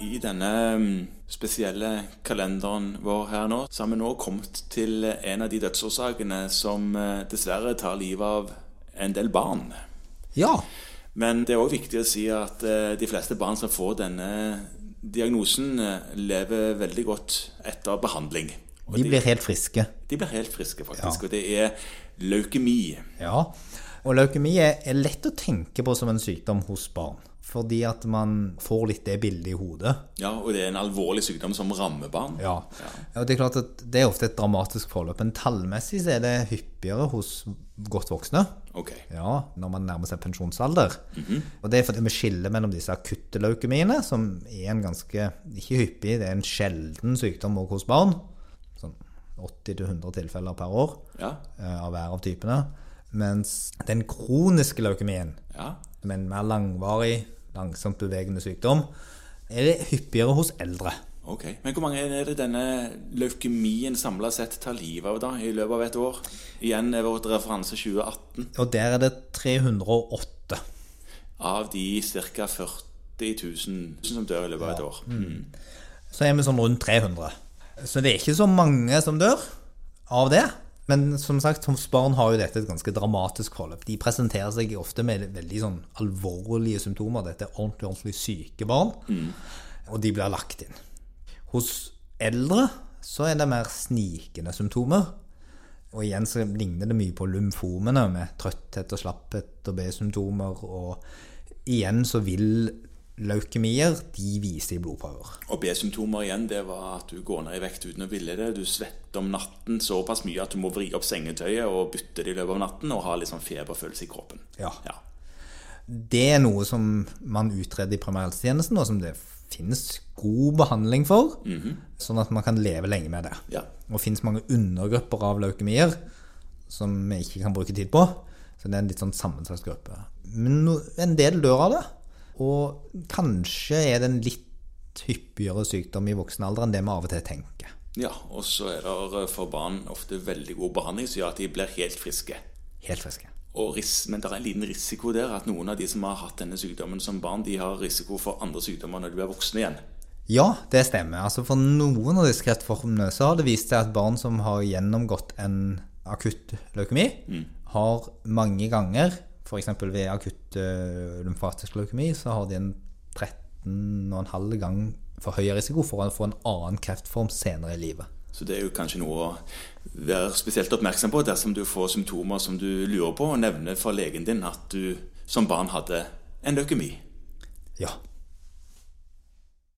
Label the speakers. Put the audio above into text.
Speaker 1: i denne mm, spesielle kalenderen vår her nå, så har vi nå kommet til en av de dødsårsakene som eh, dessverre tar livet av en del barn.
Speaker 2: Ja.
Speaker 1: Men det er òg viktig å si at eh, de fleste barn som får denne diagnosen, eh, lever veldig godt etter behandling. Og
Speaker 2: De blir helt friske.
Speaker 1: de blir helt friske, faktisk. Og det er leukemi.
Speaker 2: Ja. Og leukemi er, er lett å tenke på som en sykdom hos barn. Fordi at man får litt det bildet i hodet.
Speaker 1: Ja, og det er en alvorlig sykdom som rammer barn.
Speaker 2: Ja. Og det er klart at det er ofte et dramatisk forløp. Men tallmessig så er det hyppigere hos godt voksne.
Speaker 1: Ok.
Speaker 2: Ja, når man nærmer seg pensjonsalder. Og det er fordi vi skiller mellom disse akutte leukemiene, som er en ganske Ikke hyppig, det er en sjelden sykdom også hos barn. Sånn 80-100 tilfeller per år
Speaker 1: Ja.
Speaker 2: eh, av hver av typene. Mens den kroniske leukemien,
Speaker 1: Ja.
Speaker 2: som er en mer langvarig, langsomt bevegende sykdom, er det hyppigere hos eldre.
Speaker 1: Ok. Men hvor mange er det denne leukemien samla sett tar livet av da, i løpet av et år? Igjen er vårt referanse 2018.
Speaker 2: Og der er det 308.
Speaker 1: Av de ca. 40 000 som dør i løpet av et år. Mm.
Speaker 2: Så er vi sånn rundt 300. Så det er ikke så mange som dør av det. Men som sagt, hos barn har jo dette et ganske dramatisk forløp. De presenterer seg ofte med veldig sånn alvorlige symptomer. Dette er ordentlig, ordentlig syke barn. Og de blir lagt inn. Hos eldre så er det mer snikende symptomer. Og igjen så ligner det mye på lymfomene med trøtthet og slapphet og B-symptomer. Og igjen så vil leukemier, de vise i blodprøver.
Speaker 1: Og B-symptomer igjen, det var at du går ned i vekt uten å ville det. Du svetter om natten såpass mye at du må vri opp sengetøyet og bytte det i løpet av natten og ha litt sånn feberfølelse i kroppen.
Speaker 2: Ja.
Speaker 1: Ja.
Speaker 2: det er noe som man utreder i primærhelsetjenesten, og som det finnes god behandling for, sånn at man kan leve lenge med det.
Speaker 1: Ja.
Speaker 2: Og det finnes mange undergrupper av leukemier som vi ikke kan bruke tid på, så det er en litt sånn sammensatt gruppe. Men no- en del dør av det, og kanskje er det en litt hyppigere sykdom i voksen alder enn det vi av og til tenker.
Speaker 1: ja. Og så er det for barn ofte veldig god behandling som gjør at de blir helt friske.
Speaker 2: Helt friske.
Speaker 1: Og ris men det er en liten risiko der at noen av de som har hatt denne sykdommen som barn, de har risiko for andre sykdommer når de blir voksne igjen.
Speaker 2: Ja, det stemmer. Altså for noen av disse kreftformene så har det vist seg at barn som har gjennomgått en akutt leukemi, har mange ganger, f.eks. ved akutt eh, lymfatisk leukemi, så har de en 13,5 gang for høy risiko for å få en annen kreftform senere i livet.
Speaker 1: Så det er jo kanskje noe å være spesielt oppmerksom på dersom du får symptomer som du lurer på, og nevne for legen din at du som barn hadde en leukemi.
Speaker 2: Ja.